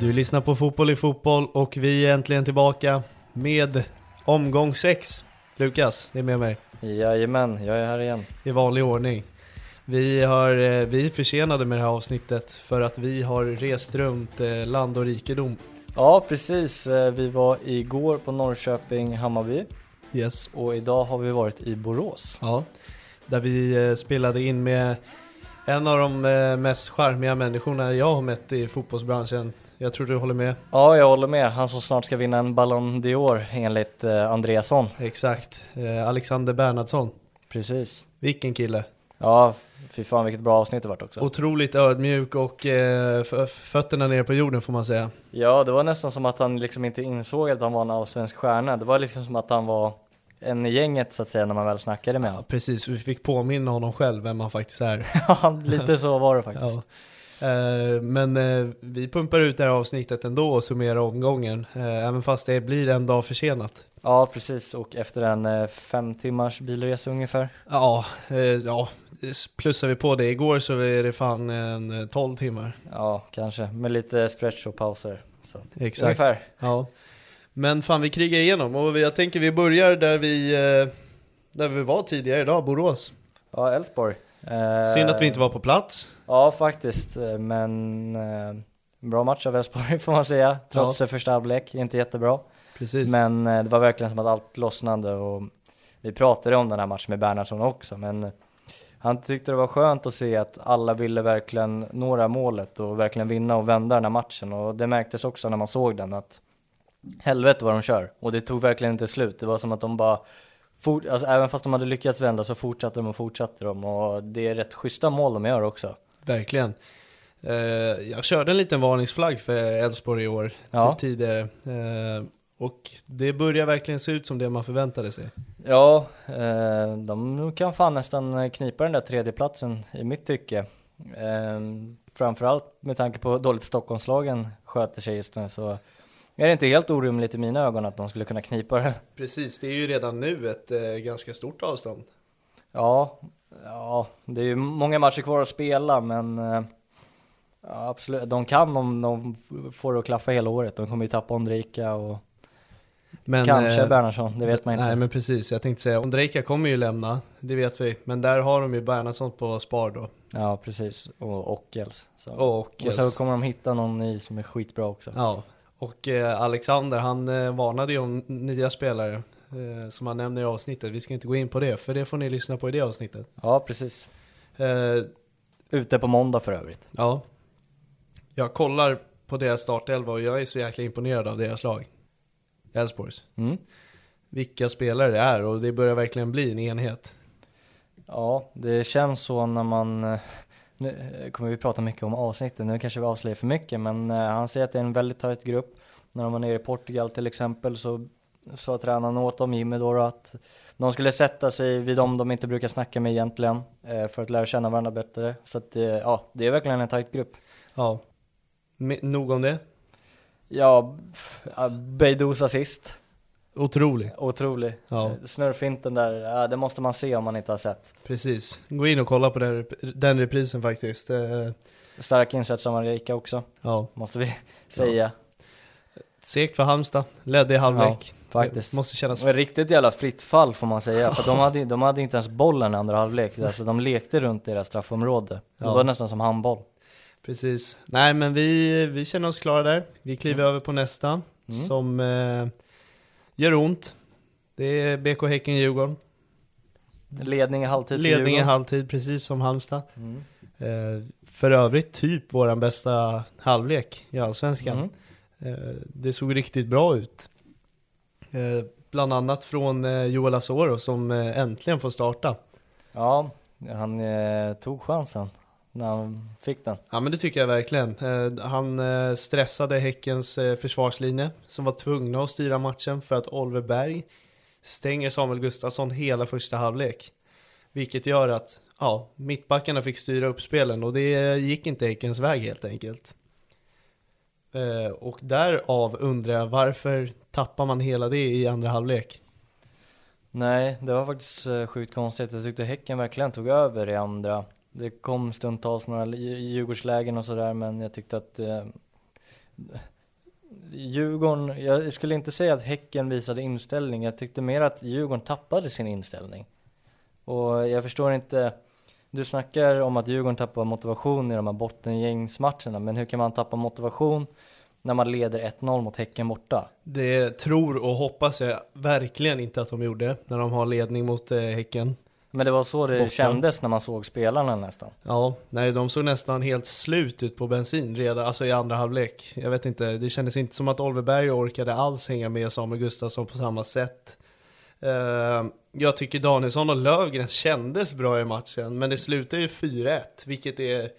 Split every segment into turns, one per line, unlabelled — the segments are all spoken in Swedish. Du lyssnar på Fotboll i fotboll och vi är äntligen tillbaka med omgång 6. Lukas, det är med mig
Jajamän, jag är här igen.
i vanlig ordning. Vi, har, eh, vi är försenade med det här avsnittet för att vi har rest runt eh, land och rikedom.
Ja, precis. Eh, Vi var igår på Norrköping-Hammarby
Yes.
och idag har vi varit i Borås.
Ja. Där vi eh, spelade in med en av de eh, mest charmiga människorna jag har mött i fotbollsbranschen. Jag tror du håller med.
Ja, jag håller med. Han som snart ska vinna en Ballon d'Or enligt eh, Andreasson.
Exakt. Eh, Alexander Bernhardsson.
Precis.
Vilken kille.
Ja, fy fan vilket bra avsnitt det vart också.
Otroligt ödmjuk och eh, f- fötterna nere på jorden får man säga.
Ja, det var nästan som att han liksom inte insåg att han var en allsvensk stjärna. Det var liksom som att han var en i gänget så att säga när man väl snackade med honom.
Precis, vi fick påminna honom själv vem han faktiskt är.
Ja, lite så var det faktiskt.
Ja. Eh, Men eh, vi pumpar ut det här avsnittet ändå och summerar omgången. eh, Även fast det blir en dag försenat.
Ja, precis. Och efter en eh, fem timmars bilresa ungefär.
Ja, eh, ja, plussar vi på det igår så är det fan en eh, 12 timmar.
Ja, kanske. Med lite stretch och pauser. Så.
Exakt.
Ungefär.
Ja. Men fan vi krigar igenom och vi- jag tänker vi börjar där vi, eh, där vi var tidigare idag, Borås.
Ja, Elfsborg. Eh,
Synd att vi inte var på plats.
Ja, faktiskt. Eh, Men eh, bra match av Elfsborg får man säga. Trots eh, första halvlek, inte jättebra.
Precis.
Men eh, det var verkligen som att allt lossnade och vi pratade om den här matchen med Bernhardsson också. Men eh, han tyckte det var skönt att se att alla ville verkligen nå det här målet och verkligen vinna och vända den här matchen. Och det märktes också när man såg den att helvete vad de kör. Och det tog verkligen inte slut. Det var som att de bara, fort, alltså, även fast de hade lyckats vända så fortsatte de och fortsatte de. Och det är rätt schyssta mål de gör också.
Verkligen. Eh, jag körde en liten varningsflagg för Elfsborg i år
Ja.
till tidigare. Eh, och det börjar verkligen se ut som det man förväntade sig.
Ja, eh, de kan fan nästan knipa den där tredjeplatsen i mitt tycke. Eh, framförallt med tanke på hur dåligt Stockholmslagen sköter sig just nu så är det inte helt orimligt i mina ögon att de skulle kunna knipa den.
Precis, det är ju redan nu ett eh, ganska stort avstånd.
Ja, ja, det är ju många matcher kvar att spela men eh, ja, absolut, de kan om de får det att klaffa hela året. De kommer ju tappa Ondrejka och
Men,
kanske
eh,
Bernhardsson, det vet man inte.
Nej men precis, jag tänkte säga Ondrejka kommer ju lämna, det vet vi. Men där har de ju Bernhardsson på spar då.
Ja, precis. Och Ockels. Så.
Och
Och
Ockels.
så kommer de hitta någon ny som är skitbra också.
Ja. Och eh, Alexander han eh, varnade ju om nya spelare eh, som han nämner i avsnittet. Vi ska inte gå in på det, för det får ni lyssna på i det avsnittet.
Ja, precis.
Eh,
Ute på måndag för övrigt.
Ja. Jag kollar på deras startelva och jag är så jäkla imponerad av deras lag. Elfsborgs.
Mm.
Vilka spelare det är och det börjar verkligen bli en enhet.
Ja, det känns så när man... eh, Nu eh, kommer vi prata mycket om avsnitten, nu kanske vi avslöjar för mycket, men eh, han säger att det är en väldigt tajt grupp. När de var nere i Portugal till exempel så sa tränaren åt dem, Jimmy då, då, att de skulle sätta sig vid dem de inte brukar snacka med egentligen, eh, för att lära känna varandra bättre. Så att, eh, ja, det är verkligen en tajt grupp.
Ja. Men Nog om det.
Ja, pff, ja, Beidous assist,
Otrolig.
otrolig.
Ja.
Eh, Snurrfinten där, ja, det måste man se om man inte har sett.
Precis. Gå in och kolla på den, rep- den reprisen faktiskt. Eh,
Stark insats av Marika också,
Ja.
måste vi säga.
Segt för Halmstad. Ledde i halvlek.
faktiskt.
Det måste kännas
Det var ett riktigt jävla fritt fall får man säga, för de hade, de hade inte ens bollen i andra halvlek, alltså de lekte runt deras straffområde. Det
Ja.
var nästan som handboll.
Precis. Nej men vi, vi känner oss klara där. Vi kliver över på nästa
Mm.
som eh, gör ont. Det är BK Häcken-Djurgården.
Ledning i halvtid för
Ledning i
Djurgården.
halvtid precis som Halmstad.
Mm.
Eh, för övrigt typ våran bästa halvlek i Allsvenskan.
Mm.
Eh, det såg riktigt bra ut. Eh, bland annat från eh, Joel Asoro som eh, äntligen får starta.
Ja, han eh, tog chansen när han fick den.
Ja men det tycker jag verkligen. Eh, Han eh, stressade Häckens eh, försvarslinje som var tvungna att styra matchen för att Oliver Berg stänger Samuel Gustafsson hela första halvlek. Vilket gör att ja, mittbackarna fick styra upp spelen och det gick inte Häckens väg helt enkelt. Eh, Och därav undrar jag varför tappar man hela det i andra halvlek?
Nej, det var faktiskt eh, sjukt konstigt. Jag tyckte Häcken verkligen tog över i andra. Det kom stundtals några Dj- Djurgårdslägen och sådär, men jag tyckte att eh, Djurgården, jag skulle inte säga att Häcken visade inställning. Jag tyckte mer att Djurgården tappade sin inställning. Och jag förstår inte, du snackar om att Djurgården tappar motivation i de här bottengängsmatcherna, men hur kan man tappa motivation när man leder 1-0 mot Häcken borta?
Det tror och hoppas jag verkligen inte att de gjorde när de har ledning mot eh, Häcken.
Men det var så det
Borta.
kändes när man såg spelarna nästan.
Ja, nej de såg nästan helt slut ut på bensin redan, alltså i andra halvlek. Jag vet inte, det kändes inte som att Oliver Berg orkade alls hänga med Samuel Gustafsson på samma sätt. Eh, jag tycker Danielsson och Lövgren kändes bra i matchen, men det slutar ju 4-1, vilket är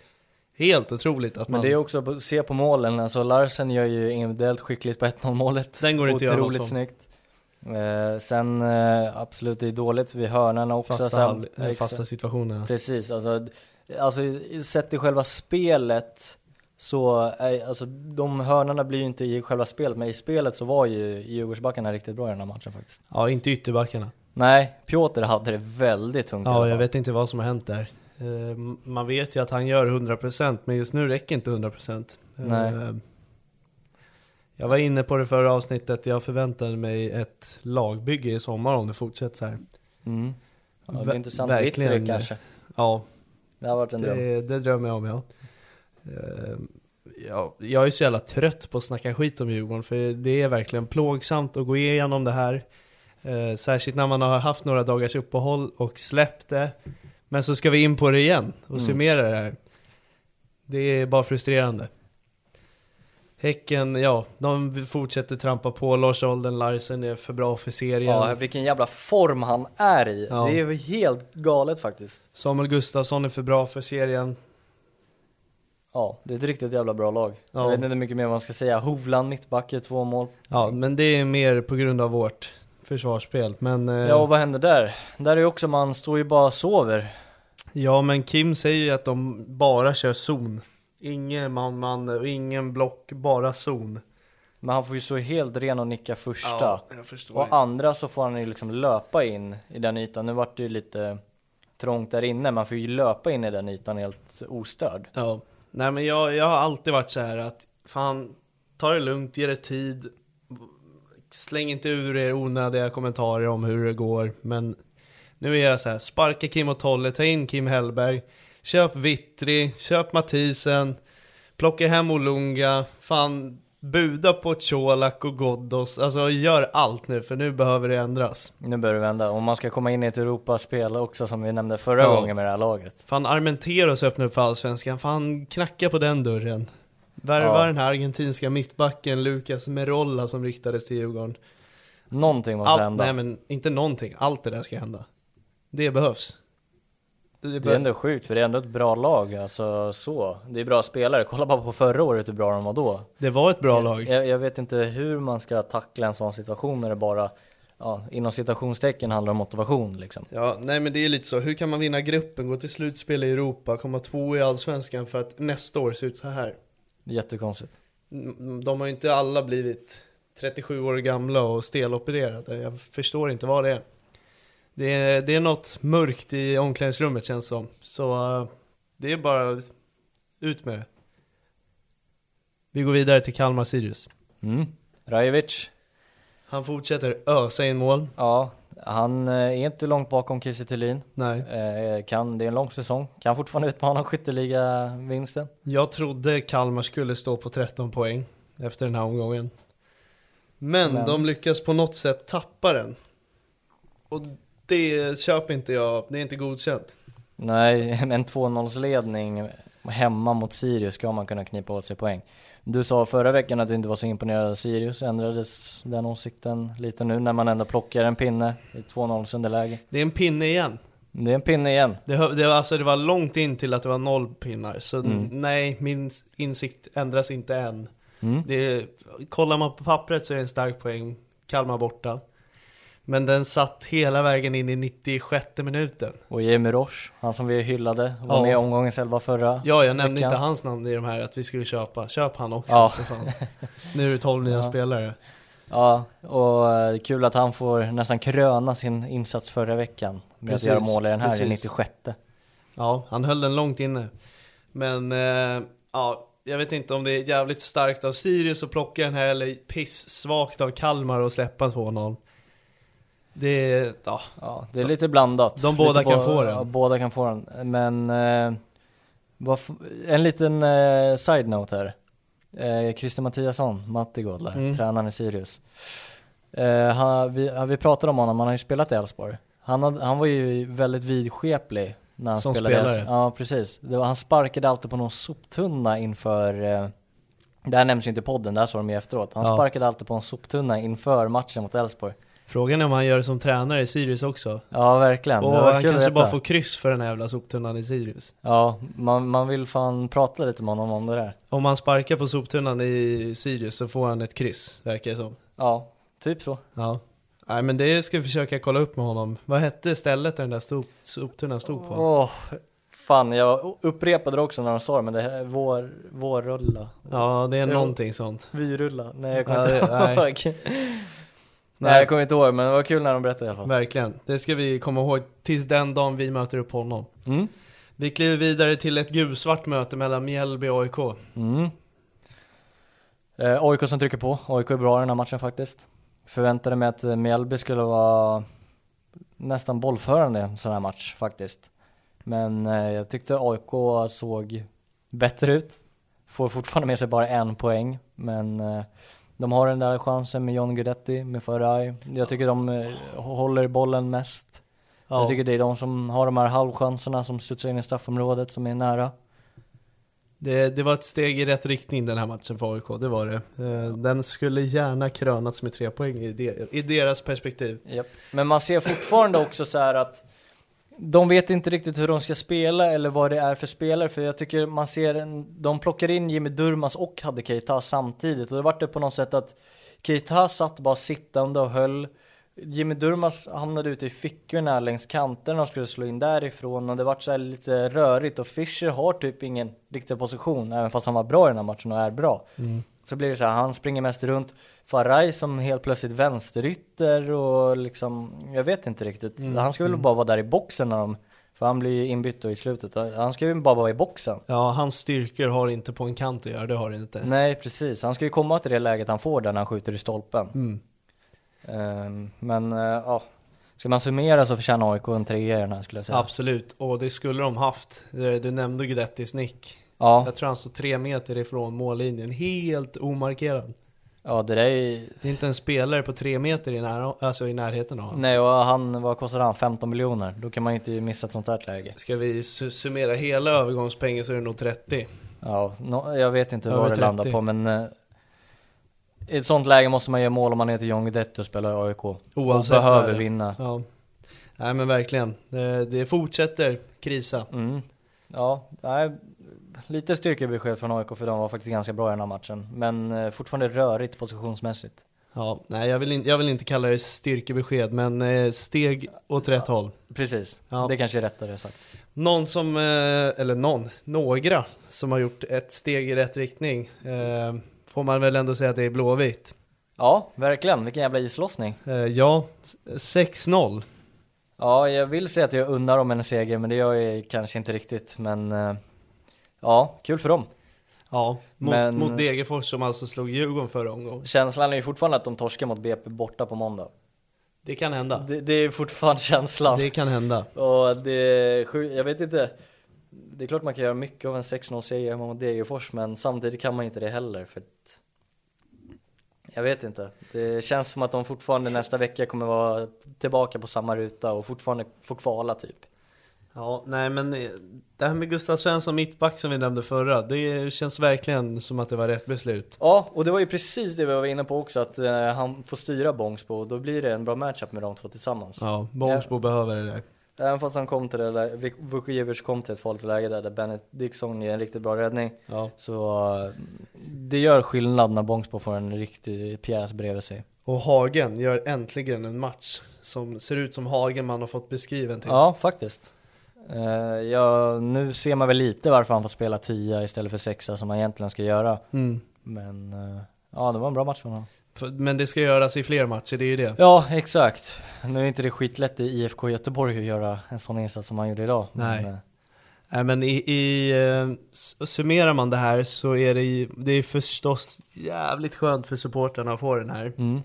helt otroligt att man...
Men det är också att se på målen, alltså Larsen gör ju individuellt skickligt på 1-0 målet.
Den går inte att göra något
Otroligt
som.
snyggt. Eh, sen eh, absolut, det är dåligt vid hörnorna också.
fasta,
sen,
halv- eh,
Exakt.
fasta situationerna.
Precis, alltså, alltså sett i själva spelet så, är, alltså de hörnorna blir ju inte i själva spelet, men i spelet så var ju Djurgårdsbackarna riktigt bra i den här matchen faktiskt.
Ja, inte ytterbackarna.
Nej, Piotr hade det väldigt tungt i alla
Ja, jag
fall.
vet inte vad som har hänt där. Eh, m- Man vet ju att han gör 100% men just nu räcker inte 100%. Eh,
Nej.
Jag var inne på det förra avsnittet, jag förväntade mig ett lagbygge i sommar om det fortsätter så här.
Mm. Ja, det
Ver-
blir intressant
verkligen.
yttre kanske.
Ja,
Det har varit en dröm.
det, det drömmer jag om ja. Eh, ja. Jag är så jävla trött på att snacka skit om Djurgården för det är verkligen plågsamt att gå igenom det här. Eh, Särskilt när man har haft några dagars uppehåll och släppt det. Men så ska vi in på det igen och
Mm.
summera det här. Det är bara frustrerande. Häcken, ja, de fortsätter trampa på. Lars Olden Larsen är för bra för serien.
Ja, vilken jävla form han är i.
Ja.
Det är ju helt galet faktiskt.
Samuel Gustafsson är för bra för serien.
Ja, det är ett riktigt jävla bra lag.
Ja.
Jag vet inte mycket mer vad man ska säga. Hovland, mittback, gör två mål.
Ja, men det är mer på grund av vårt försvarsspel. Men, eh,
Ja, och vad händer där? Där är ju också, man står ju bara och sover.
ja, men Kim säger ju att de bara kör zon. Ingen man-man och ingen block, bara zon.
Men han får ju stå helt ren och nicka första.
jag förstår.
och andra så får han ju liksom löpa in i den ytan. Nu vart det ju lite trångt där inne, man får ju löpa in i den ytan helt ostörd.
Ja, nej men jag, jag har alltid varit så här att fan, ta det lugnt, ge det tid. Släng inte ur er onödiga kommentarer om hur det går, men nu är jag så här, sparka Kim och Tolle, ta in Kim Hellberg, köp Vittri, köp Mathisen, plocka hem Olunga, fan buda på Colak och Ghoddos, alltså gör allt nu för nu behöver det ändras.
Nu börjar det vända. Om man ska komma in i ett Europaspel också som vi nämnde förra
Ja.
gången med det här laget.
Fan Armenteros öppnar upp för Allsvenskan, fan knacka på den dörren. Värva
Ja.
den här argentinska mittbacken Lucas Merolla som riktades till Djurgården.
Någonting måste
Allt,
hända.
nej men inte någonting, allt det där ska hända. Det behövs. Det
Det är ändå sjukt för det är ändå ett bra lag, alltså så. Det är bra spelare, kolla bara på förra året hur bra de var då.
Det var ett bra lag.
Jag, jag vet inte hur man ska tackla en sån situation när det bara, ja, inom citationstecken handlar om motivation liksom.
Ja, nej men det är lite så. Hur kan man vinna gruppen, gå till slutspel i Europa, komma två i Allsvenskan för att nästa år ser ut så här?
Jättekonstigt.
Mm, De har ju inte alla blivit 37 år gamla och stelopererade. Jag förstår inte vad det är. Det är, det är något mörkt i omklädningsrummet känns som. Så eh, det är bara ut med det. Vi går vidare till Kalmar Sirius.
Mm. Rajovic,
Han fortsätter ösa in mål.
ja, han eh, är inte långt bakom Kiese Thelin.
Nej.
Eh, Kan, det är en lång säsong, kan fortfarande utmana skytteliga-vinsten.
Jag trodde Kalmar skulle stå på 13 poäng efter den här omgången. Men,
Men-
de lyckas på något sätt tappa den. Och det köper inte jag, det är inte godkänt.
Nej, en 2-0-ledning hemma mot Sirius ska man kunna knipa åt sig poäng. Du sa förra veckan att du inte var så imponerad av Sirius, ändrades den åsikten lite nu när man ändå plockar en pinne i 2-0 underläge?
Det är en pinne igen.
Det är en pinne igen.
Det, hö- det, var- alltså, det var långt in till att det var noll pinnar. Så n-
Mm.
nej, min s- insikt ändras inte än.
Mm.
Det, kollar man på pappret så är det en stark poäng. Kalmar borta. Men den satt hela vägen in i 96 minuten.
Och Jamie Roche, han som vi hyllade, var
Ja.
med i omgångens elva förra
Ja, jag nämnde
veckan.
inte hans namn i de här att vi skulle köpa. Köp han också
Ja.
för fan. Nu är det 12 nya spelare.
Ja, och eh, kul att han får nästan kröna sin insats förra veckan med
Precis,
att göra mål i den här i
precis.
96.
Ja, han höll den långt inne. Men eh, ja, jag vet inte om det är jävligt starkt av Sirius att plocka den här eller pissvagt av Kalmar att släppa 2-0. Det är, ja,
Ja, det är lite blandat.
De båda
lite
kan få den.
Ja, båda kan få den. Men eh, vad f- en liten eh, side-note här. Eh, Christer Mattiasson, Mattigård där,
Mm.
tränaren i Sirius. Eh, han, vi, ja, vi pratade om honom, han har ju spelat i Elfsborg. Han, hade- han var ju väldigt vidskeplig när han
Som
spelade. i
spelare.
Elfs- Ja, precis. Det var, han sparkade alltid på någon soptunna inför eh, det här nämns ju inte i podden, det här såg de ju efteråt. Han
Ja.
sparkade alltid på en soptunna inför matchen mot Elfsborg.
frågan är om han gör det som tränare i Sirius också.
Ja, verkligen.
Och
Det var
han
kul att
kanske
veta.
bara får kryss för den här jävla soptunnan i Sirius.
Ja, man, man vill fan prata lite med honom om det där.
Om han sparkar på soptunnan i Sirius så får han ett kryss, verkar det som.
Ja, typ så.
Ja. Nej men det ska vi försöka kolla upp med honom. Vad hette stället där den där stop- soptunnan stod på?
Åh, fan jag upprepade det också när de sa det, men det här är vår, vårrulla,
Ja, det är någonting sånt.
vyrulla, nej jag
Ja,
kommer
det-
inte
nej.
ihåg. Nej. jag kommer inte ihåg, men det var kul när de berättade i alla fall.
Verkligen. Det ska vi komma ihåg tills den dagen vi möter upp honom.
Mm.
Vi kliver vidare till ett gulsvart möte mellan Mjällby och AIK.
Mm. Eh, AIK som trycker på, AIK är bra i den här matchen faktiskt. Förväntade mig att eh, Mjällby skulle vara nästan bollförande i en sån här match faktiskt. Men eh, jag tyckte AIK såg bättre ut. Får fortfarande med sig bara en poäng, men eh, de har den där chansen med John Guidetti, med Faraj. Jag tycker de eh, håller bollen mest. Jag tycker det är de som har de här halvchanserna som studsar in i straffområdet som är nära.
Det, det var ett steg i rätt riktning den här matchen för AIK, det var det. Eh, Den skulle gärna krönats med tre poäng i, de, i deras perspektiv.
Japp. Men man ser fortfarande också så här att de vet inte riktigt hur de ska spela eller vad det är för spelare. För jag tycker man ser, en, de plockar in Jimmy Durmas och hade Keita samtidigt. Och det vart det på något sätt att Keita satt bara sittande och höll. Jimmy Durmas hamnade ute i fickorna längs kanterna och skulle slå in därifrån. Och det vart så här lite rörigt. Och Fischer har typ ingen riktig position, även fast han var bra i den här matchen och är bra. Så blir det så här, han springer mest runt. Faraj som helt plötsligt vänsterytter och liksom, jag vet inte riktigt. Han ska väl bara vara där i boxen när de, för han blir ju inbytt då i slutet. Han ska ju bara vara i boxen.
Ja, hans styrkor har inte på en kant att göra, det har det inte.
Nej precis, han ska ju komma till det läget han får där när han skjuter i stolpen. Ehm, men eh, ja, ska man summera så förtjänar AIK en trea i den här skulle jag säga.
Absolut, och det skulle de haft. Eh, Du du nämnde Guidettis nick.
Ja,
Jag tror han stod tre meter ifrån mållinjen, helt omarkerad.
ja, det där är ju...
Det är inte en spelare på tre meter i, nära, alltså i närheten av honom.
Nej och han, vad kostade han? 15 miljoner? Då kan man ju inte missa ett sånt här läge.
Ska vi su- summera hela övergångspengen så är det nog 30.
Ja, nå- jag vet inte
Över
vad det landar
30.
på men eh, I ett sånt läge måste man göra mål om man heter John Guidetti och spelar i AIK.
Oavsett
och behöver
vad det-
vinna.
Ja. Nej men verkligen. Det, det fortsätter krisa.
Mm. Ja, nej, lite styrkebesked från AIK för de var faktiskt ganska bra i den här matchen. Men eh, fortfarande rörigt positionsmässigt.
Ja, nej jag vill, in, jag vill inte kalla det styrkebesked men eh, steg åt rätt håll.
Precis,
Ja.
det kanske är rättare sagt.
Någon som, eh, eller någon, några som har gjort ett steg i rätt riktning eh, får man väl ändå säga att det är Blåvitt.
Ja, verkligen. Vilken jävla islossning.
Eh, Ja, 6-0.
Ja, jag vill säga att jag unnar dem en seger, men det gör jag kanske inte riktigt. Men eh, ja, kul för dem.
Ja, mot,
Men-
mot Degerfors som alltså slog Djurgården förra omgången.
Känslan är ju fortfarande att de torskar mot BP borta på måndag.
Det kan hända.
Det, det är fortfarande känslan.
Det kan hända.
Och det är sju- jag vet inte. Det är klart man kan göra mycket av en 6-0-seger hemma mot Degerfors, men samtidigt kan man inte det heller. För att, jag vet inte. Det känns som att de fortfarande nästa vecka kommer vara tillbaka på samma ruta och fortfarande få kvala typ.
Ja, nej men eh, det här med Gustav Svensson mittback som vi nämnde förra, det känns verkligen som att det var rätt beslut.
Ja, och det var ju precis det vi var inne på också, att eh, han får styra Bångsbo och då blir det en bra matchup med de två tillsammans.
Ja, Bångsbo behöver det där.
Även fast han kom till det där, Vuk- Vukojevic kom till ett farligt läge där, där Benediktsson ger en riktigt bra räddning.
Ja.
Så eh, det gör skillnad när Bångsbo får en riktig pjäs bredvid sig.
Och Hagen gör äntligen en match som ser ut som Hagen man har fått beskriven till.
Ja, faktiskt. Eh, ja, nu ser man väl lite varför han får spela 10 istället för sexa som han egentligen ska göra.
Mm.
Men eh, ja, det var en bra match för honom.
För- Men det ska göras i fler matcher, det är ju det.
Ja, exakt. Nu är inte det skitlätt i IFK Göteborg att göra en sån insats som han gjorde idag.
Nej.
Men, eh,
Nej men i, i eh, s- summerar man det här så är det, ju- det är förstås jävligt skönt för supportrarna att få den här.
mm.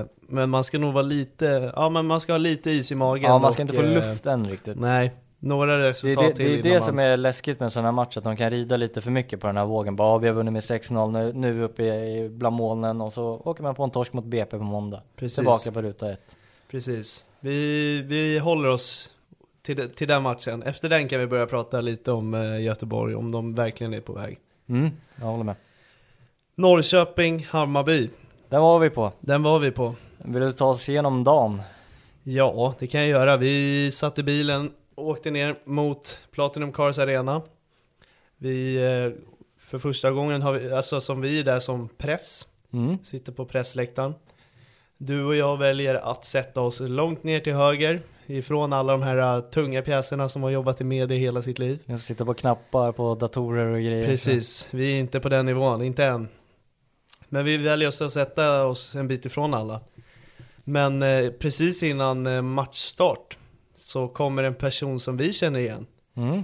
Eh, men man ska nog vara lite, ja men man ska ha lite is i magen.
Ja, man ska
och,
inte få
eh,
luft än riktigt.
Nej, några
Det är
resultat
det,
till
det, är
innan
det
man-
som är läskigt med en sån här match, att de kan rida lite för mycket på den här vågen. Bara, ja, vi har vunnit med 6-0, nu, nu är vi uppe i, i bland molnen och så åker man på en torsk mot BP på måndag.
Precis.
Tillbaka på ruta ett.
Precis. Vi, vi håller oss till, de- till den matchen. Efter den kan vi börja prata lite om eh, Göteborg, om de verkligen är på väg.
Mm, jag håller med.
Norrköping, Hammarby.
Där var vi på.
Den var vi på.
Vill du ta oss igenom dagen?
Ja, det kan jag göra. Vi satt i bilen och åkte ner mot Platinum Cars Arena. Vi, eh, för första gången har vi, alltså som vi är där som press,
Mm.
sitter på pressläktaren. Du och jag väljer att sätta oss långt ner till höger ifrån alla de här eh, tunga pjäserna som har jobbat i media hela sitt liv.
Jag sitter på knappar på datorer och grejer.
Precis, vi är inte på den nivån, inte än. Men vi väljer oss att sätta oss en bit ifrån alla. Men eh, precis innan eh, matchstart så kommer en person som vi känner igen.
Mm.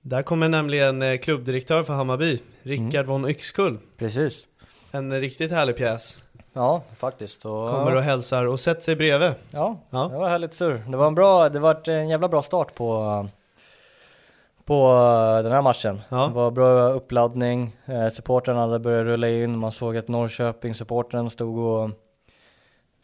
Där kommer nämligen eh, klubbdirektör för Hammarby, Rickard
Mm.
von Yxkull.
Precis.
En eh, riktigt härlig pjäs.
Ja, faktiskt. Och,
Kommer och hälsar och sätter sig bredvid.
Ja,
Ja.
det var härligt surr. Det var en bra, det var en jävla bra start på, på eh, den här matchen.
Ja.
Det var bra uppladdning, eh, supportrarna hade börjat rulla in, man såg att Norrköping-supporten stod och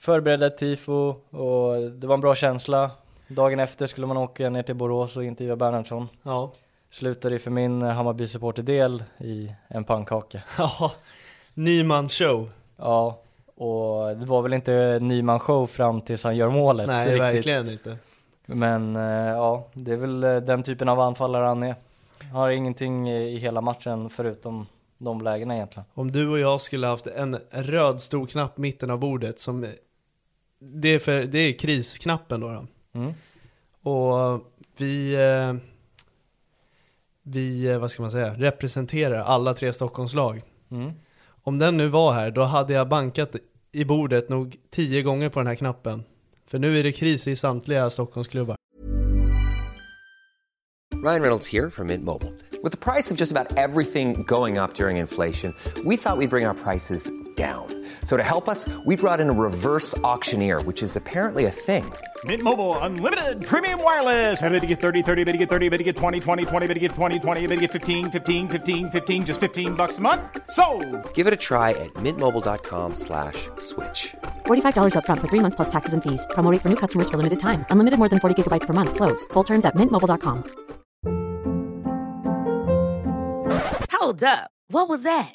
förberedde ett tifo och det var en bra känsla. Dagen efter skulle man åka ner till Borås och intervjua Bernhardsson.
Ja.
Slutade ju för min eh, Hammarby-supporterdel i en pannkaka.
Ja, Nyman show.
Ja, och det var väl inte Nyman-show fram tills han gör målet
Nej,
riktigt.
verkligen inte.
Men eh, ja, det är väl eh, den typen av anfallare han är. Han har ingenting i i hela matchen förutom de lägena egentligen.
Om du och jag skulle haft en röd stor knapp mitten av bordet som Det är, för, det är krisknappen då, då.
Mm.
Och vi eh, Vi, eh, vad ska man säga, representerar alla tre Stockholmslag
Mm.
Om den nu var här, då hade jag bankat i bordet nog tio gånger på den här knappen För nu är det kris i samtliga Stockholmsklubbar
Ryan Reynolds here from Mint Mobile. With the price of just about everything going up during inflation, we thought we'd bring our prices down. So to help us, we brought in a reverse auctioneer, which is apparently a thing.
Mint Mobile unlimited premium wireless. Ready to get 30, 30, bit to get 30, bit to get 20, 20, 20, bit to get 20, 20, bit to get 15, 15, 15, 15 just 15 bucks a month. So,
Give it a try at mintmobile.com slash switch.
$45 up front for three months plus taxes and fees. Promo rate for new customers for limited time. Unlimited more than 40 gigabytes per month. Slows. Full terms at mintmobile.com.
Hold up. What was that?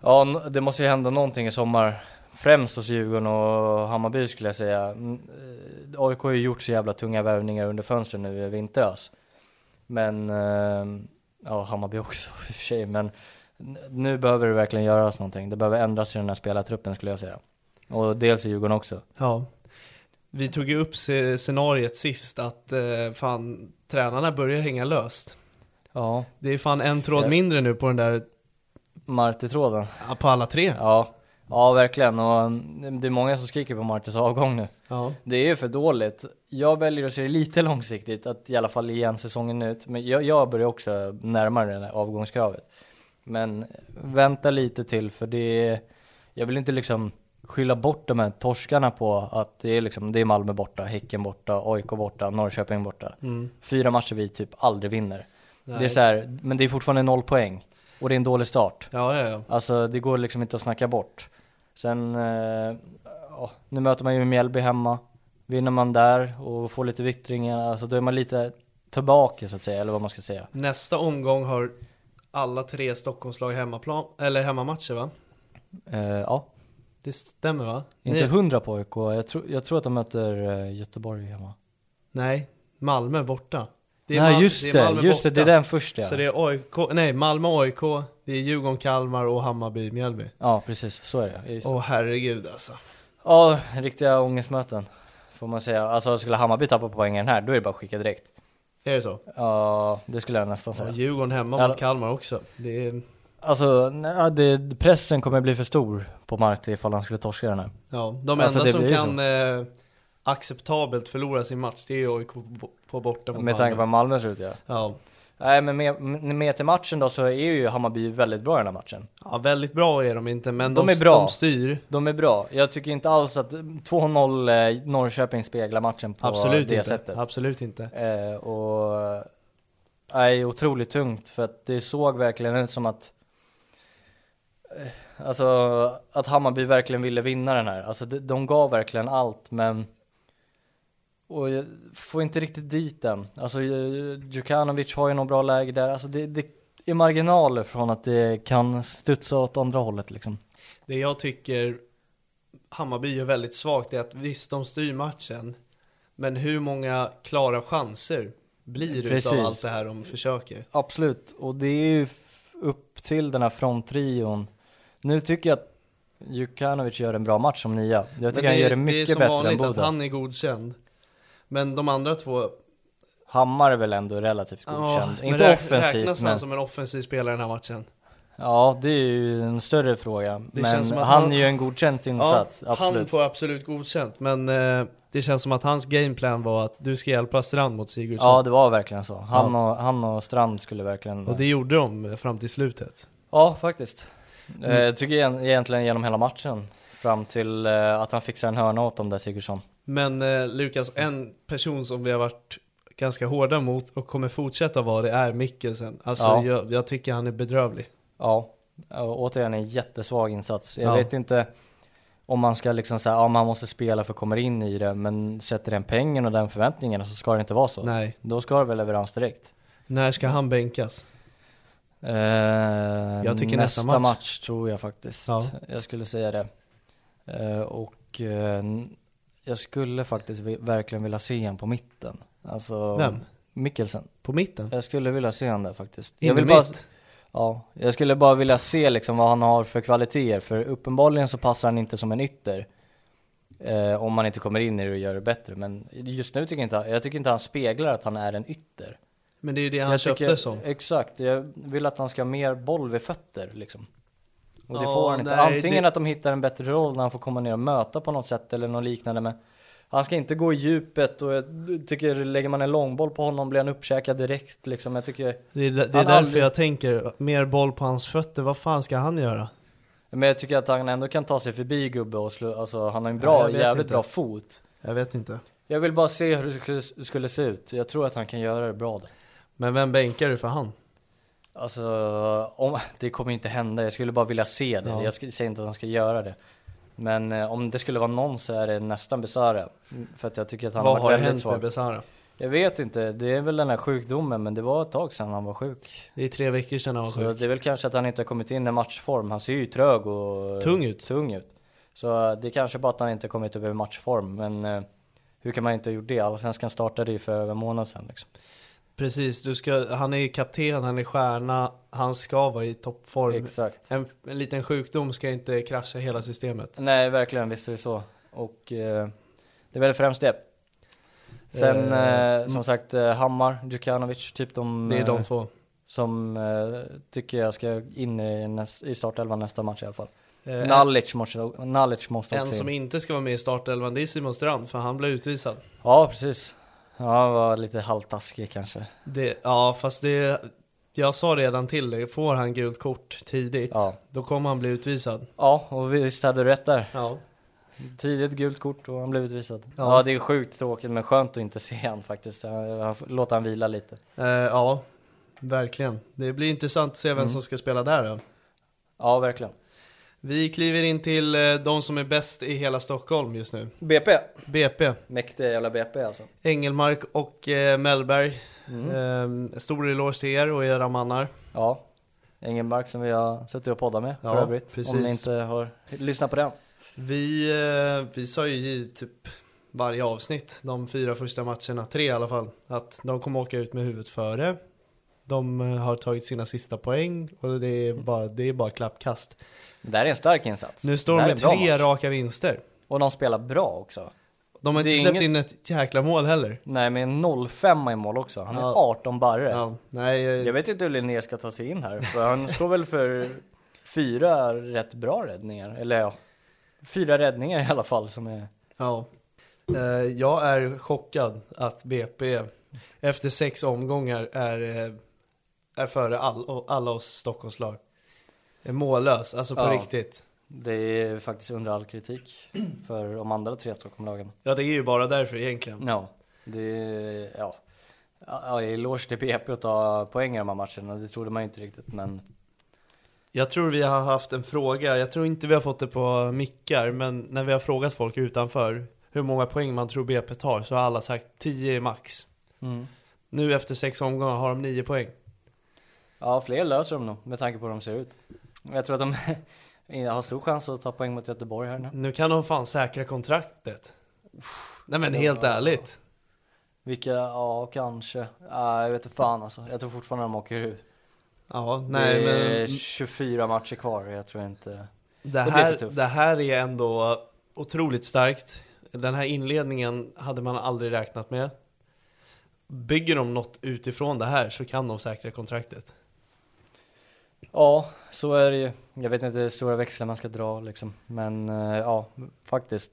Ja, n- det måste ju hända någonting i sommar. Främst hos Djurgården och Hammarby skulle jag säga. Mm, eh, AIK har ju gjort så jävla tunga värvningar under fönstren nu i vintras. Men, eh, ja Hammarby också i och för sig. Men n- nu behöver det verkligen göras någonting. Det behöver ändras i den här spelartruppen skulle jag säga. Och dels i Djurgården också.
Ja. Vi tog ju upp sce- scenariet sist att eh, fan, tränarna börjar hänga löst.
Ja,
Det är fan en tråd
Ja.
mindre nu på den där,
Marti-tråden.
på alla tre.
Ja, ja verkligen. Och mm, det är många som skriker på Martis avgång nu.
Ja.
Det är ju för dåligt. Jag väljer att se det lite långsiktigt, att i alla fall igen säsongen ut. Men jag, jag börjar också närma mig det här avgångskravet. Men vänta lite till, för det är, jag vill inte liksom skylla bort de här torskarna på att det är liksom, det är Malmö borta, Häcken borta, AIK borta, Norrköping borta. Fyra matcher vi typ aldrig vinner. Det är
Nej.
så här, men det är fortfarande noll poäng. Och det är en dålig start.
Ja, ja, ja.
Alltså det går liksom inte att snacka bort. Sen, eh, ja, nu möter man ju Mjällby hemma. Vinner man där och får lite vittringar, alltså då är man lite tillbaka så att säga, eller vad man ska säga.
Nästa omgång har alla tre Stockholmslag hemmaplan, eller hemmamatcher va?
Eh, ja,
Det stämmer va?
inte
Nej.
hundra på AIK, jag, tror- jag tror att de möter eh, Göteborg hemma.
Nej, Malmö borta. Det
Nej
Mal-
just det,
är Malmö
just det, det är
borta.
den första ja.
Så det är AIK, nej Malmö AIK, det är Djurgården, Kalmar och Hammarby, Mjällby.
Ja precis, så är det. Just det.
Åh herregud alltså.
Ja, riktiga ångestmöten får man säga. Alltså skulle Hammarby tappa poängen här, då är det bara att skicka direkt.
Är det så?
Ja, det skulle jag nästan säga.
Ja, Djurgården hemma
Ja.
mot Kalmar också. Det är,
Alltså, nej, ja, det, pressen kommer bli för stor på Marti ifall han skulle torska den här.
ja, de
Alltså,
enda
det
som
blir ju
kan
så.
eh, acceptabelt förlora sin match, det är AIK på- på borta mot
Med tanke på hur Malmö ser ut ja.
Ja.
Nej men med, med till matchen då så är ju Hammarby väldigt bra i den här matchen.
ja, väldigt bra är de inte, men de,
De är bra.
de styr.
De är bra. Jag tycker inte alls att 2-0 eh, Norrköping speglar matchen på
Absolut
det
inte.
sättet.
Absolut inte.
Eh, och eh, är otroligt tungt för att det såg verkligen ut som att eh, Alltså att Hammarby verkligen ville vinna den här. Alltså de, de gav verkligen allt men och jag får inte riktigt dit den. Alltså eh, Djukanovic har ju något bra läge där. Alltså det, det är marginaler från att det kan studsa åt andra hållet liksom.
Det jag tycker Hammarby är väldigt svagt är att visst, de styr matchen, men hur många klara chanser blir det utav
Precis.
allt det här de försöker?
Absolut, och det är ju f- upp till den här fronttrion. Nu tycker jag att Djukanovic gör en bra match som nia. Jag tycker
Men
han gör det
är
mycket
som
bättre än
vanligt att
Boda.
han är godkänd. Men de andra två,
Hammar är väl ändå relativt
ja,
godkänd.
men
Inte
räk-
offensivt
räknas han
men...
som en offensiv spelare i den här matchen?
Ja, det är ju en större fråga.
Det
men
känns som
han,
att han-
är ju en godkänd insats,
han
absolut.
får absolut godkänt, men eh, det känns som att hans gameplan var att du ska hjälpa Strand mot Sigurdsson.
Ja, det var verkligen så. Han, och, han och Strand skulle verkligen...
Och det gjorde de fram till slutet.
Ja, faktiskt.
Mm.
Eh, Jag tycker egent- egentligen genom hela matchen. Fram till eh, att han fixar en hörna åt dem där Sigurdsson.
Men eh, Lukas, en person som vi har varit ganska hårda mot och kommer fortsätta vara det är Mikkelsen. Alltså
Ja.
jag, jag tycker han är bedrövlig.
Ja, och återigen en jättesvag insats. Jag
Ja.
vet inte om man ska liksom säga, ja man måste spela för att komma in i det, men sätter den pengen och den förväntningen så ska det inte vara så.
Nej.
Då ska det väl leverans direkt.
När ska han bänkas?
Eh,
Jag tycker nästa
nästa
match.
tror jag faktiskt.
Ja.
Jag skulle säga det. Eh, och eh, jag skulle faktiskt vi- verkligen vilja se en på mitten. Alltså,
Vem?
Mikkelsen.
På mitten?
Jag skulle vilja se en där faktiskt.
In
Jag vill
mitt?
bara, Ja, jag skulle bara vilja se liksom vad han har för kvaliteter, för uppenbarligen så passar han inte som en ytter. Eh, om man inte kommer in i det och gör det bättre, men just nu tycker jag inte, jag tycker inte han speglar att han är en ytter.
Men det är ju det han
jag
köpte
tycker,
som.
Exakt, jag vill att han ska ha mer boll vid fötter liksom. Och det
Ja,
får han inte.
nej,
Antingen
det-
att de hittar en bättre roll när han får komma ner och möta på något sätt eller något liknande, men han ska inte gå i djupet och jag tycker lägger man en långboll på honom blir han uppkäkad direkt liksom. Jag tycker
Det är, det är
Han har
därför
aldrig-
jag tänker, mer boll på hans fötter, vad fan ska han göra?
Men jag tycker att han ändå kan ta sig förbi gubbe och slå, alltså han har en bra,
jag vet
jävligt
inte.
bra fot.
Jag vet inte.
Jag vill bara se hur det skulle, skulle se ut. Jag tror att han kan göra det bra där.
Men vem bänkar du för han?
Alltså, om, det kommer inte hända. Jag skulle bara vilja se det.
Ja.
Jag sk- säger inte att han ska göra det. Men eh, om det skulle vara någon så är det nästan Besara. Mm, För att jag tycker att han
Vad
har
har
varit väldigt
hänt med
svag.
Besara?
Jag vet inte, det är väl den här sjukdomen men det var ett tag sedan han var sjuk.
Det är tre veckor sedan han var
Så
sjuk.
det är väl kanske att han inte har kommit in i matchform. Han ser ju trög och
Tung ut.
tung ut. Så eh, det är kanske bara att han inte har kommit upp i matchform. Men eh, hur kan man inte ha gjort det? Allsvenskan startade ju för över en månad sedan liksom.
Precis, du ska, han är kapten, han är stjärna, han ska vara i toppform.
Exakt.
En, en liten sjukdom ska inte krascha hela systemet.
Nej, verkligen. Visst är det så. Och eh, det är väl främst det. Sen,
Eh,
eh, som sagt, eh, Hammar, Djukanovic, typ de,
Det är
eh,
de två.
som eh, tycker jag ska in i, näst, i startelvan nästa match i alla fall.
Eh,
Nalic måste, Nalic måste
En
också
som
in.
inte ska vara med i startelvan det är Simon Strand för han blev utvisad.
Ja, precis. Ja, han var lite halvtaskig kanske.
Det, ja fast det, jag sa redan till dig, får han gult kort tidigt
Ja.
då kommer han bli utvisad.
Ja, och visst hade du rätt där.
Ja.
Tidigt gult kort och han blev utvisad. Ja.
Ja.
det är sjukt tråkigt men skönt att inte se han faktiskt. Han- han- Låta han vila lite.
Eh, ja, verkligen. Det blir intressant att se
Mm.
vem som ska spela där då.
Ja, verkligen.
Vi kliver in till eh, de som är bäst i hela Stockholm just nu.
BP.
BP,
Mäktiga jävla BP alltså.
Engelmark och eh, Mellberg.
Mm.
Eh, stor eloge till er och era mannar.
Ja, Engelmark som vi har suttit och poddat med
Ja,
för övrigt. Om ni
precis.
inte har lyssnat på den.
Vi, eh, vi sa ju i typ varje avsnitt, de fyra första matcherna, tre i alla fall, att de kommer åka ut med huvudet före. De eh, har tagit sina sista poäng och det är
Mm.
bara, det är bara klappkast.
Det här är en stark insats.
Nu står de
Det här
med
är en bra
tre
match.
raka vinster.
Och de spelar bra också.
De har
Det
inte
är
släppt
ingen-
in ett jäkla mål heller.
Nej men 0-5 i mål också. Han är
Ja.
18 barre.
Ja, nej, eh,
Jag vet inte hur Linné ska ta sig in här. För han står väl för fyra rätt bra räddningar. Eller ja, fyra räddningar i alla fall som är...
ja. Eh, jag är chockad att BP efter sex omgångar är, eh, är före all, alla oss Stockholmslag. Är mållös, alltså på
Ja.
riktigt.
Det är faktiskt under all kritik för de andra tre Stockholmlagen.
Ja, det är ju bara därför egentligen.
Ja, det är, ja. Ja, eloge till BP att ta poäng i de här matcherna, det trodde man ju inte riktigt men
Jag tror vi har haft en fråga, jag tror inte vi har fått det på mickar, men när vi har frågat folk utanför hur många poäng man tror BP tar så har alla sagt 10 max. Nu efter sex omgångar har de 9 poäng.
ja, fler löser de nog med tanke på hur de ser ut. Jag tror att de har stor chans att ta poäng mot Göteborg här nu.
Nu kan de fan säkra kontraktet. Nej men helt ärligt.
Vilka, ja kanske, ja, jag vet inte fan alltså. Jag tror fortfarande de åker ur.
Ja, nej
det är
men
24 matcher kvar, jag tror inte...
det
blir för
här,
tufft.
det här är ändå otroligt starkt. Den här inledningen hade man aldrig räknat med. Bygger de något utifrån det här så kan de säkra kontraktet.
Ja, så är det ju. Jag vet inte hur stora växlar man ska dra liksom, men eh, ja, faktiskt.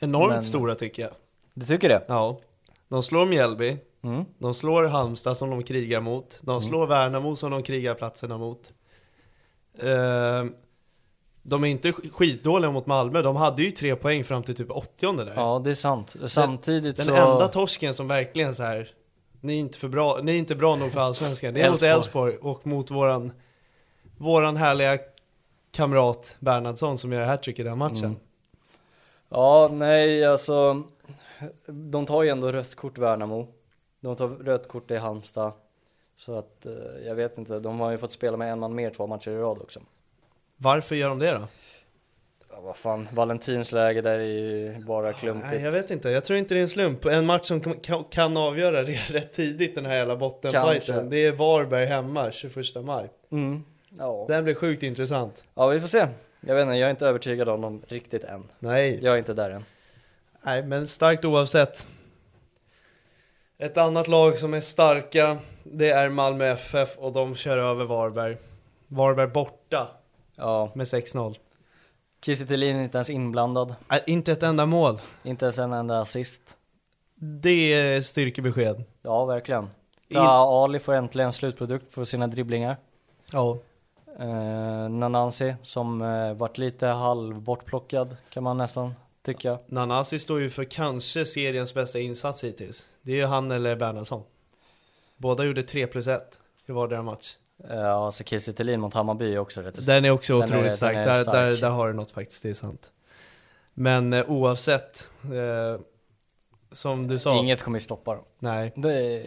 Enormt
Men-
stora tycker jag.
Du tycker det?
Ja. De slår Mjällby,
Mm.
de slår Halmstad som de krigar mot, de slår Värnamo som de krigar platserna mot. Eh, de är inte sk- skitdåliga mot Malmö, de hade ju tre poäng fram till typ 80 där.
Ja, det är sant. Samtidigt
Den
så...
enda torsken som verkligen så här. Ni är inte, för bra, ni är inte bra nog för Allsvenskan, det är mot Elfsborg och mot våran, våran härliga kamrat Bernhardsson som gör hattrick i den matchen.
Mm. Ja, nej alltså. De tar ju ändå rött kort Värnamo. De tar rött kort i Halmstad. Så att eh, jag vet inte, de har ju fått spela med en man mer två matcher i rad också.
Varför gör de det då?
Ja, vad fan, Valentins läge där är ju bara klumpigt.
Nej, jag vet inte, jag tror inte det är en slump. En match som kan- kan, kan avgöra det rätt tidigt den här jävla
Kanske.
bottenfighten. Det är Varberg hemma 21 maj.
Mm. Ja.
Den blir sjukt intressant.
ja, vi får se. Jag vet inte, jag är inte övertygad om dem riktigt än.
Nej.
Jag är inte där än.
Nej, men starkt oavsett. Ett annat lag som är starka, det är Malmö FF och de kör över Varberg. Varberg borta
Ja,
med 6-0.
Kiese Thelin är inte ens inblandad.
Nej, inte ett enda mål.
Inte ens en enda assist.
Det är styrkebesked.
Ja, verkligen.
In-
Ja, Ali får äntligen slutprodukt för sina dribblingar.
Ja.
eh, Nanansi som eh, varit lite halv bortplockad kan man nästan tycka.
Nanasi står ju för kanske seriens bästa insats hittills. Det är ju han eller Bernhardsson. Båda gjorde 3 plus 1 i vardera match.
Eh, Ja, så Kiese Thelin mot Hammarby är också rätt
Den är också
Den är-
otroligt
den är
stark. Där,
stark.
Där, där har du något faktiskt, det är sant. Men eh, oavsett, eh, som du sa,
Inget kommer ju stoppa dem.
nej.
Det är,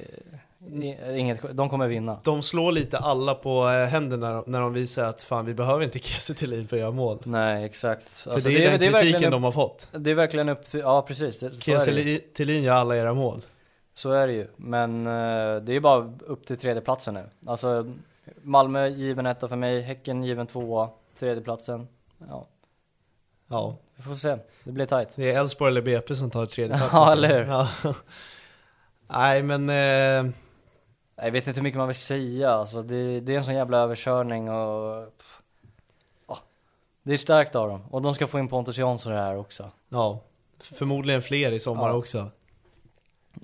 i- inget, de kommer vinna.
De slår lite alla på eh, händerna när de visar att fan vi behöver inte Kiese Thelin för att göra mål.
Nej, exakt.
För
Alltså,
det är den kritiken
verkligen
de har fått.
Det är verkligen upp till, ja precis, det, så, är det, ju.
Kiese Thelin gör alla era mål.
så är det ju. Men eh, det är ju bara upp till tredjeplatsen nu. Alltså Malmö given etta för mig, Häcken given tvåa, tredjeplatsen. Ja,
Ja,
vi får se, det blir tajt.
det är Elfsborg eller BP som tar tredje plats.
Ja, eller hur?
Ja. Nej, men eh,
Jag vet inte hur mycket man vill säga, alltså, det, det är en sån jävla överkörning och... Pff. Ja. Det är starkt av dem, och de ska få in Pontus Jansson i det här också.
ja, förmodligen fler i sommar
Ja.
också.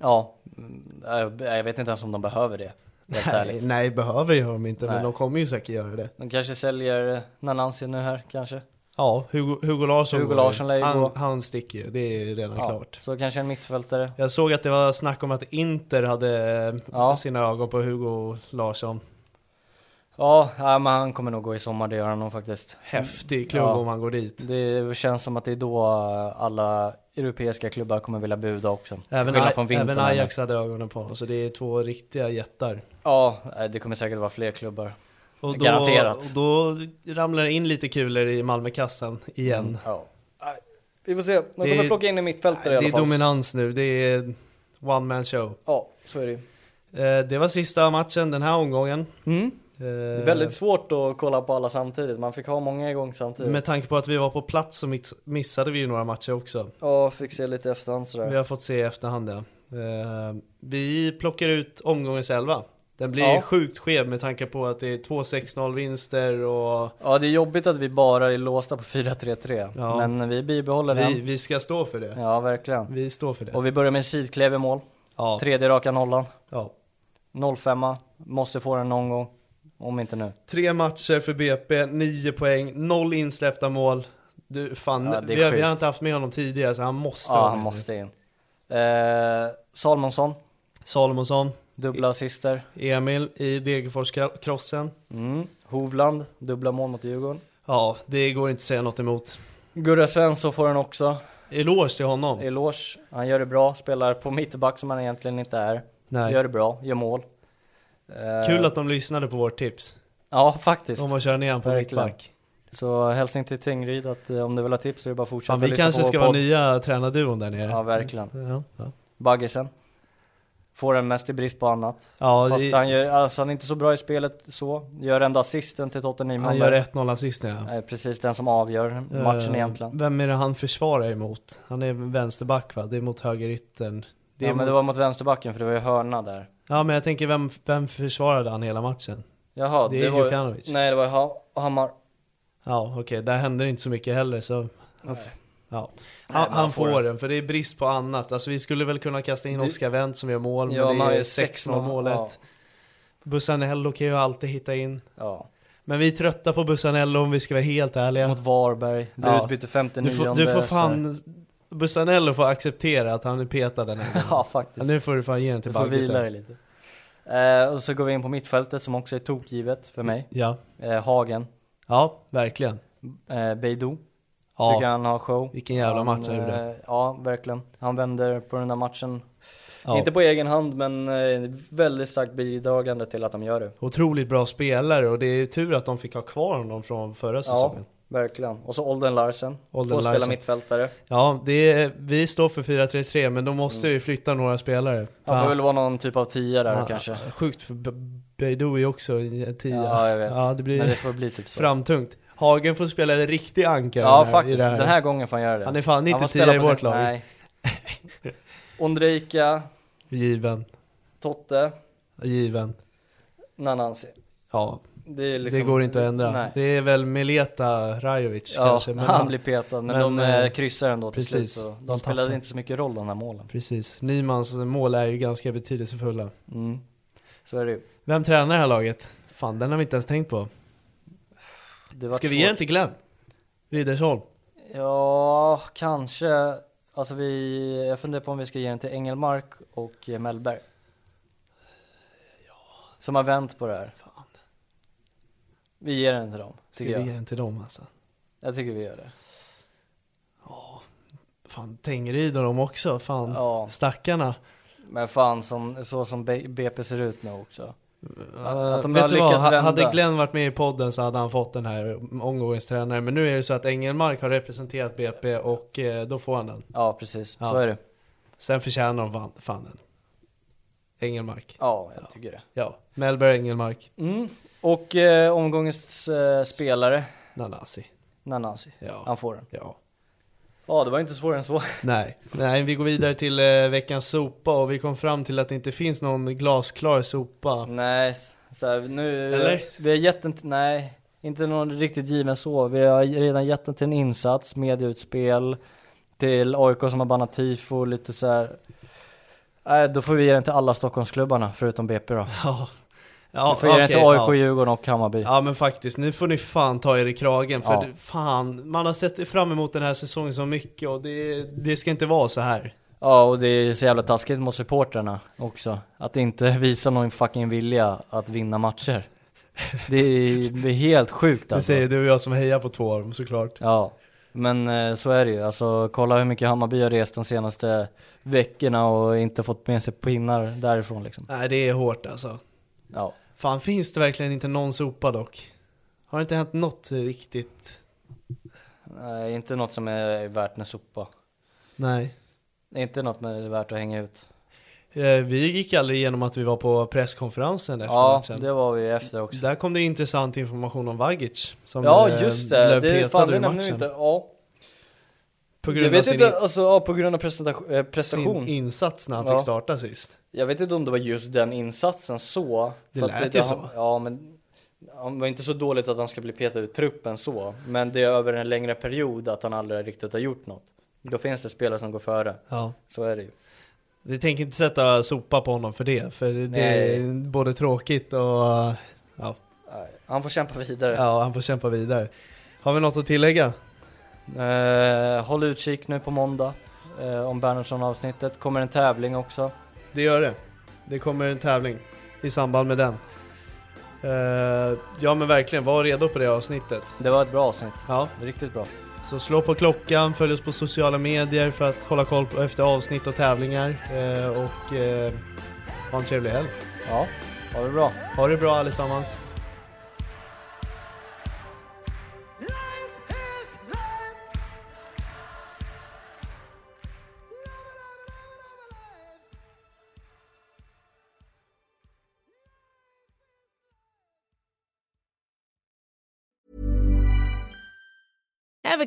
Ja, mm, jag- jag vet inte ens om de behöver det, helt
Nej,
ärligt.
nej, behöver gör de inte, men
Nej.
de kommer ju säkert göra det.
De kanske säljer Nanansi nu här, kanske.
Ja, Hugo, Hugo Larsson,
Hugo
går ju.
Larsson lär ju
han,
gå.
han sticker ju, det är ju redan klart.
Så kanske en mittfältare.
Jag såg att det var snack om att Inter hade eh,
Ja.
sina ögon på Hugo Larsson.
Ja, ja, men han kommer nog gå i sommar, det gör han nog faktiskt.
Häftig klubb
Ja.
om han går dit.
Det känns som att det är då alla europeiska klubbar kommer vilja buda också. Till
Även,
skillnad
Aj-
från vintern
även
här nu.
Ajax hade ögonen på honom, så det är två riktiga jättar.
Ja, eh, det kommer säkert vara fler klubbar.
Och då,
Garanterat.
Och då ramlar det in lite kulor i Malmökassan igen.
Ja. Vi får se, de
Det-
kommer plocka in en mittfältare i
det
alla
är
fall.
dominans nu, det är one man show.
ja, så är det ju.
Eh, det var sista matchen den här omgången. Eh,
Det är Mm. väldigt svårt att kolla på alla samtidigt, man fick ha många igång samtidigt.
Med tanke på att vi var på plats så miss- missade vi ju några matcher också.
Ja, fick se lite i efterhand sådär.
Vi har fått se i efterhand ja. Eh, Vi plockar ut omgångens elva. Den blir
Ja.
sjukt skev med tanke på att det är 2-6-0 vinster och
Ja, det är jobbigt att vi bara är låsta på 4-3-3,
Ja.
men vi bibehåller
vi,
den.
vi ska stå för det.
Ja, verkligen.
Vi står för det.
Och vi börjar med Sidklev i mål,
Ja.
tredje raka nollan.
Ja.
05 måste få den någon gång. Om inte nu.
Tre matcher för BP, nio poäng, noll insläppta mål. Du, fan,
Ja, det är
vi, har, vi
sjukt.
har inte haft med honom tidigare så han måste
Ja,
vara
han
med
måste in. Eh, Salmonsson,
nu. Salomonsson,
dubbla assister.
Emil i Degerfors-krossen.
Mm. Hovland, dubbla mål mot Djurgården.
Ja, det går inte att säga något emot.
Gurra Svensson får den också.
Eloge till honom.
Eloge, han gör det bra. Spelar på mittback som han egentligen inte är.
Nej.
Gör det bra, gör mål. Eh,
Kul att de lyssnade på vårt tips.
Ja, faktiskt.
Om att köra ner han på
Verkligen.
mittback.
Så hälsning till Tengryd att eh, om du vill ha tips så är det bara att fortsätta
Fan, vi
lyssna
kanske
liksom på vår
ska vara
podd.
nya tränarduon där nere.
Ja, verkligen.
Ja, ja.
Baggesen. Får den mest i brist på annat.
Ja,
Fast
det-
han, gör, alltså han är inte så bra i spelet så. Gör ändå assisten till Tottenham.
Han gör 1-0 assisten ja.
Eh, Precis den som avgör matchen
Eh,
egentligen.
Vem är det han försvarar emot? Han är vänsterback va? Det är mot högeryttern. Det är
ja, men
mot...
det var mot vänsterbacken för det var ju hörna där.
ja men jag tänker vem, vem försvarade han hela matchen?
Jaha,
Det är
var
Djukanovic.
Nej, det var ha Hammar.
Ja okej, där händer inte så mycket heller så... Han, ja. han,
men han
han
får
får den för det är brist på annat. Alltså vi skulle väl kunna kasta in
Det-
Oskar Wendt som gör mål
Ja,
men
man har
det är
ju
6-0
6-0,
målet.
ja.
Bussanello kan ju alltid hitta in.
Ja.
Men vi är trötta på Bussanello om vi ska vara helt ärliga.
Mot Varberg. Blir
Ja.
utbyte
Du
59
får, du får fan... Bussanello får acceptera att han är petad den här gången.
Ja, faktiskt.
Nu får du fan ge den till
Du får vila dig
Baggesen.
lite. Eh, och så går vi in på mittfältet som också är tokgivet för mig.
Ja.
Eh, Hagen.
ja, verkligen.
Eh, Beidou.
Ja.
Tycker han har show.
Vilken jävla match han gjorde.
eh, Ja, verkligen. Han vänder på den där matchen.
Ja.
Inte på egen hand, men eh, väldigt starkt bidragande till att de gör det.
Otroligt bra spelare och det är tur att de fick ha kvar honom från förra
Ja,
säsongen.
verkligen. Och så Olden Larsen.
Olden
Får spela
Larsen.
mittfältare.
Ja, det är, vi står för 4-3-3 men då måste vi flytta några spelare.
Mm. Han
Fan.
får väl vara någon typ av tia där
Ja,
kanske.
Sjukt för B- Beidou är också en tia.
Ja, jag vet.
Ja, det blir
Men det får bli typ så.
framtungt. Hagen får spela en riktig ankare
ja,
där- i
faktiskt.
det här.
Den här gången får han göra det.
Han är fan inte
får
tia
spela
i
på
vårt
sin-
lag.
Nej. Ondrejka,
Given.
Totte,
Given.
Nanansi.
Ja,
Det, är liksom,
det går inte att ändra.
Nej.
Det är väl Mileta Rajovic
ja,
kanske. men
han
ja.
blir petad, men,
men,
de eh,
eh,
kryssar ändå till
precis.
slut. Så de,
De
spelade
tappar.
inte så mycket roll de här målen.
Precis, Nymans mål är ju ganska betydelsefulla.
Så är det ju.
Vem tränar det här laget? Fan, den har vi inte ens tänkt på.
Det var
Ska vi ge den till Glenn? Riddersholm?
Ja, kanske. Alltså vi, jag funderar på om vi ska ge den till Engelmark och eh, Mellberg. Som har vänt på det här.
Fan.
Vi ger den till dem,
Ska
tycker
vi ge
jag.
den till dem alltså?
Jag tycker vi gör det.
Fan, Tengryd och dem också, fan.
Ja.
Stackarna.
Men fan, som, så som B- BP ser ut nu också.
Eh,
att de har
vet du vad,
lyckats
Ha-
vända.
hade Glenn varit med i podden så hade han fått den här omgångens tränare. Men nu är det så att Engelmark har representerat BP och eh, då får han den.
Ja, precis. Så
Ja.
är det.
Sen förtjänar de van- fan den. Engelmark.
Ja, jag tycker det.
Ja, Melberg, Engelmark,
Mm. Och eh, omgångens eh, spelare,
Nanasi.
Nanasi.
Ja.
Han får den.
Ja.
Ja, det var inte svårare än så.
Nej. Nej, vi går vidare till eh, veckans sopa och vi kom fram till att det inte finns någon glasklar sopa.
Nej, s- så här, nu...
Eller?
Vi har gett den till, nej, inte någon riktigt given så. Vi har redan gett den till en insats, medieutspel, till AIK som har bannat tifo, lite så här. Nej, då får vi ge den till alla Stockholmsklubbarna, förutom BP då.
Ja, ja
vi får ge den
okej,
till AIK,
ja.
Djurgården och Hammarby.
Ja men faktiskt, nu får ni fan ta er i kragen för
Ja.
det- fan, man har sett fram emot den här säsongen så mycket och det, det ska inte vara så här.
Ja, och det är ju så jävla taskigt mot supportrarna också. Att inte visa någon fucking vilja att vinna matcher. Det är, det är helt sjukt
Det
alltså.
säger du och jag som hejar på två av dem såklart.
Ja, men eh, så är det ju. Alltså kolla hur mycket Hammarby har rest de senaste veckorna och inte fått med sig pinnar därifrån liksom.
Nej det är hårt alltså.
Ja,
Fan finns det verkligen inte någon sopa dock? Har det inte hänt något riktigt?
Nej, Eh, inte något som är värt en sopa.
Nej.
Inte något som är värt att hänga ut.
Eh, Vi gick aldrig igenom att vi var på presskonferensen efter
Ja,
matchen.
det var vi efter också.
Där kom det intressant information om Vagic. Som
Ja,
eh,
just det.
blev
Det
petad
fan,
ur
det nämnde vi
matchen
inte. Ja.
På
Jag
grund av
vet
sin,
inte, alltså ja, på grund av prestation. eh, prestation.
sin insats när han
Ja.
fick starta sist.
Jag vet inte om det var just den insatsen så.
Det
för att
lät ju
han-
så.
Ja, men han var inte så dåligt att han ska bli petad ur truppen så. Men det är över en längre period att han aldrig riktigt har gjort något. Då finns det spelare som går före.
Ja.
Så är det ju.
Vi tänker inte sätta sopa på honom för det, för det är
Nej.
både tråkigt och ja,
Nej, Han får kämpa vidare.
ja, han får kämpa vidare. Har vi något att tillägga?
Eh, håll utkik nu på måndag. Eh, om Bernhardsson avsnittet. Kommer en tävling också.
Det gör det. Det kommer en tävling i samband med den. Eh, ja men verkligen, var redo på det avsnittet.
Det var ett bra avsnitt.
Ja,
Riktigt bra.
så slå på klockan, följ oss på sociala medier för att hålla koll på efter avsnitt och tävlingar. Eh, och eh, ha en trevlig helg.
Ja, ha det bra.
Ha det bra allesammans.
Ever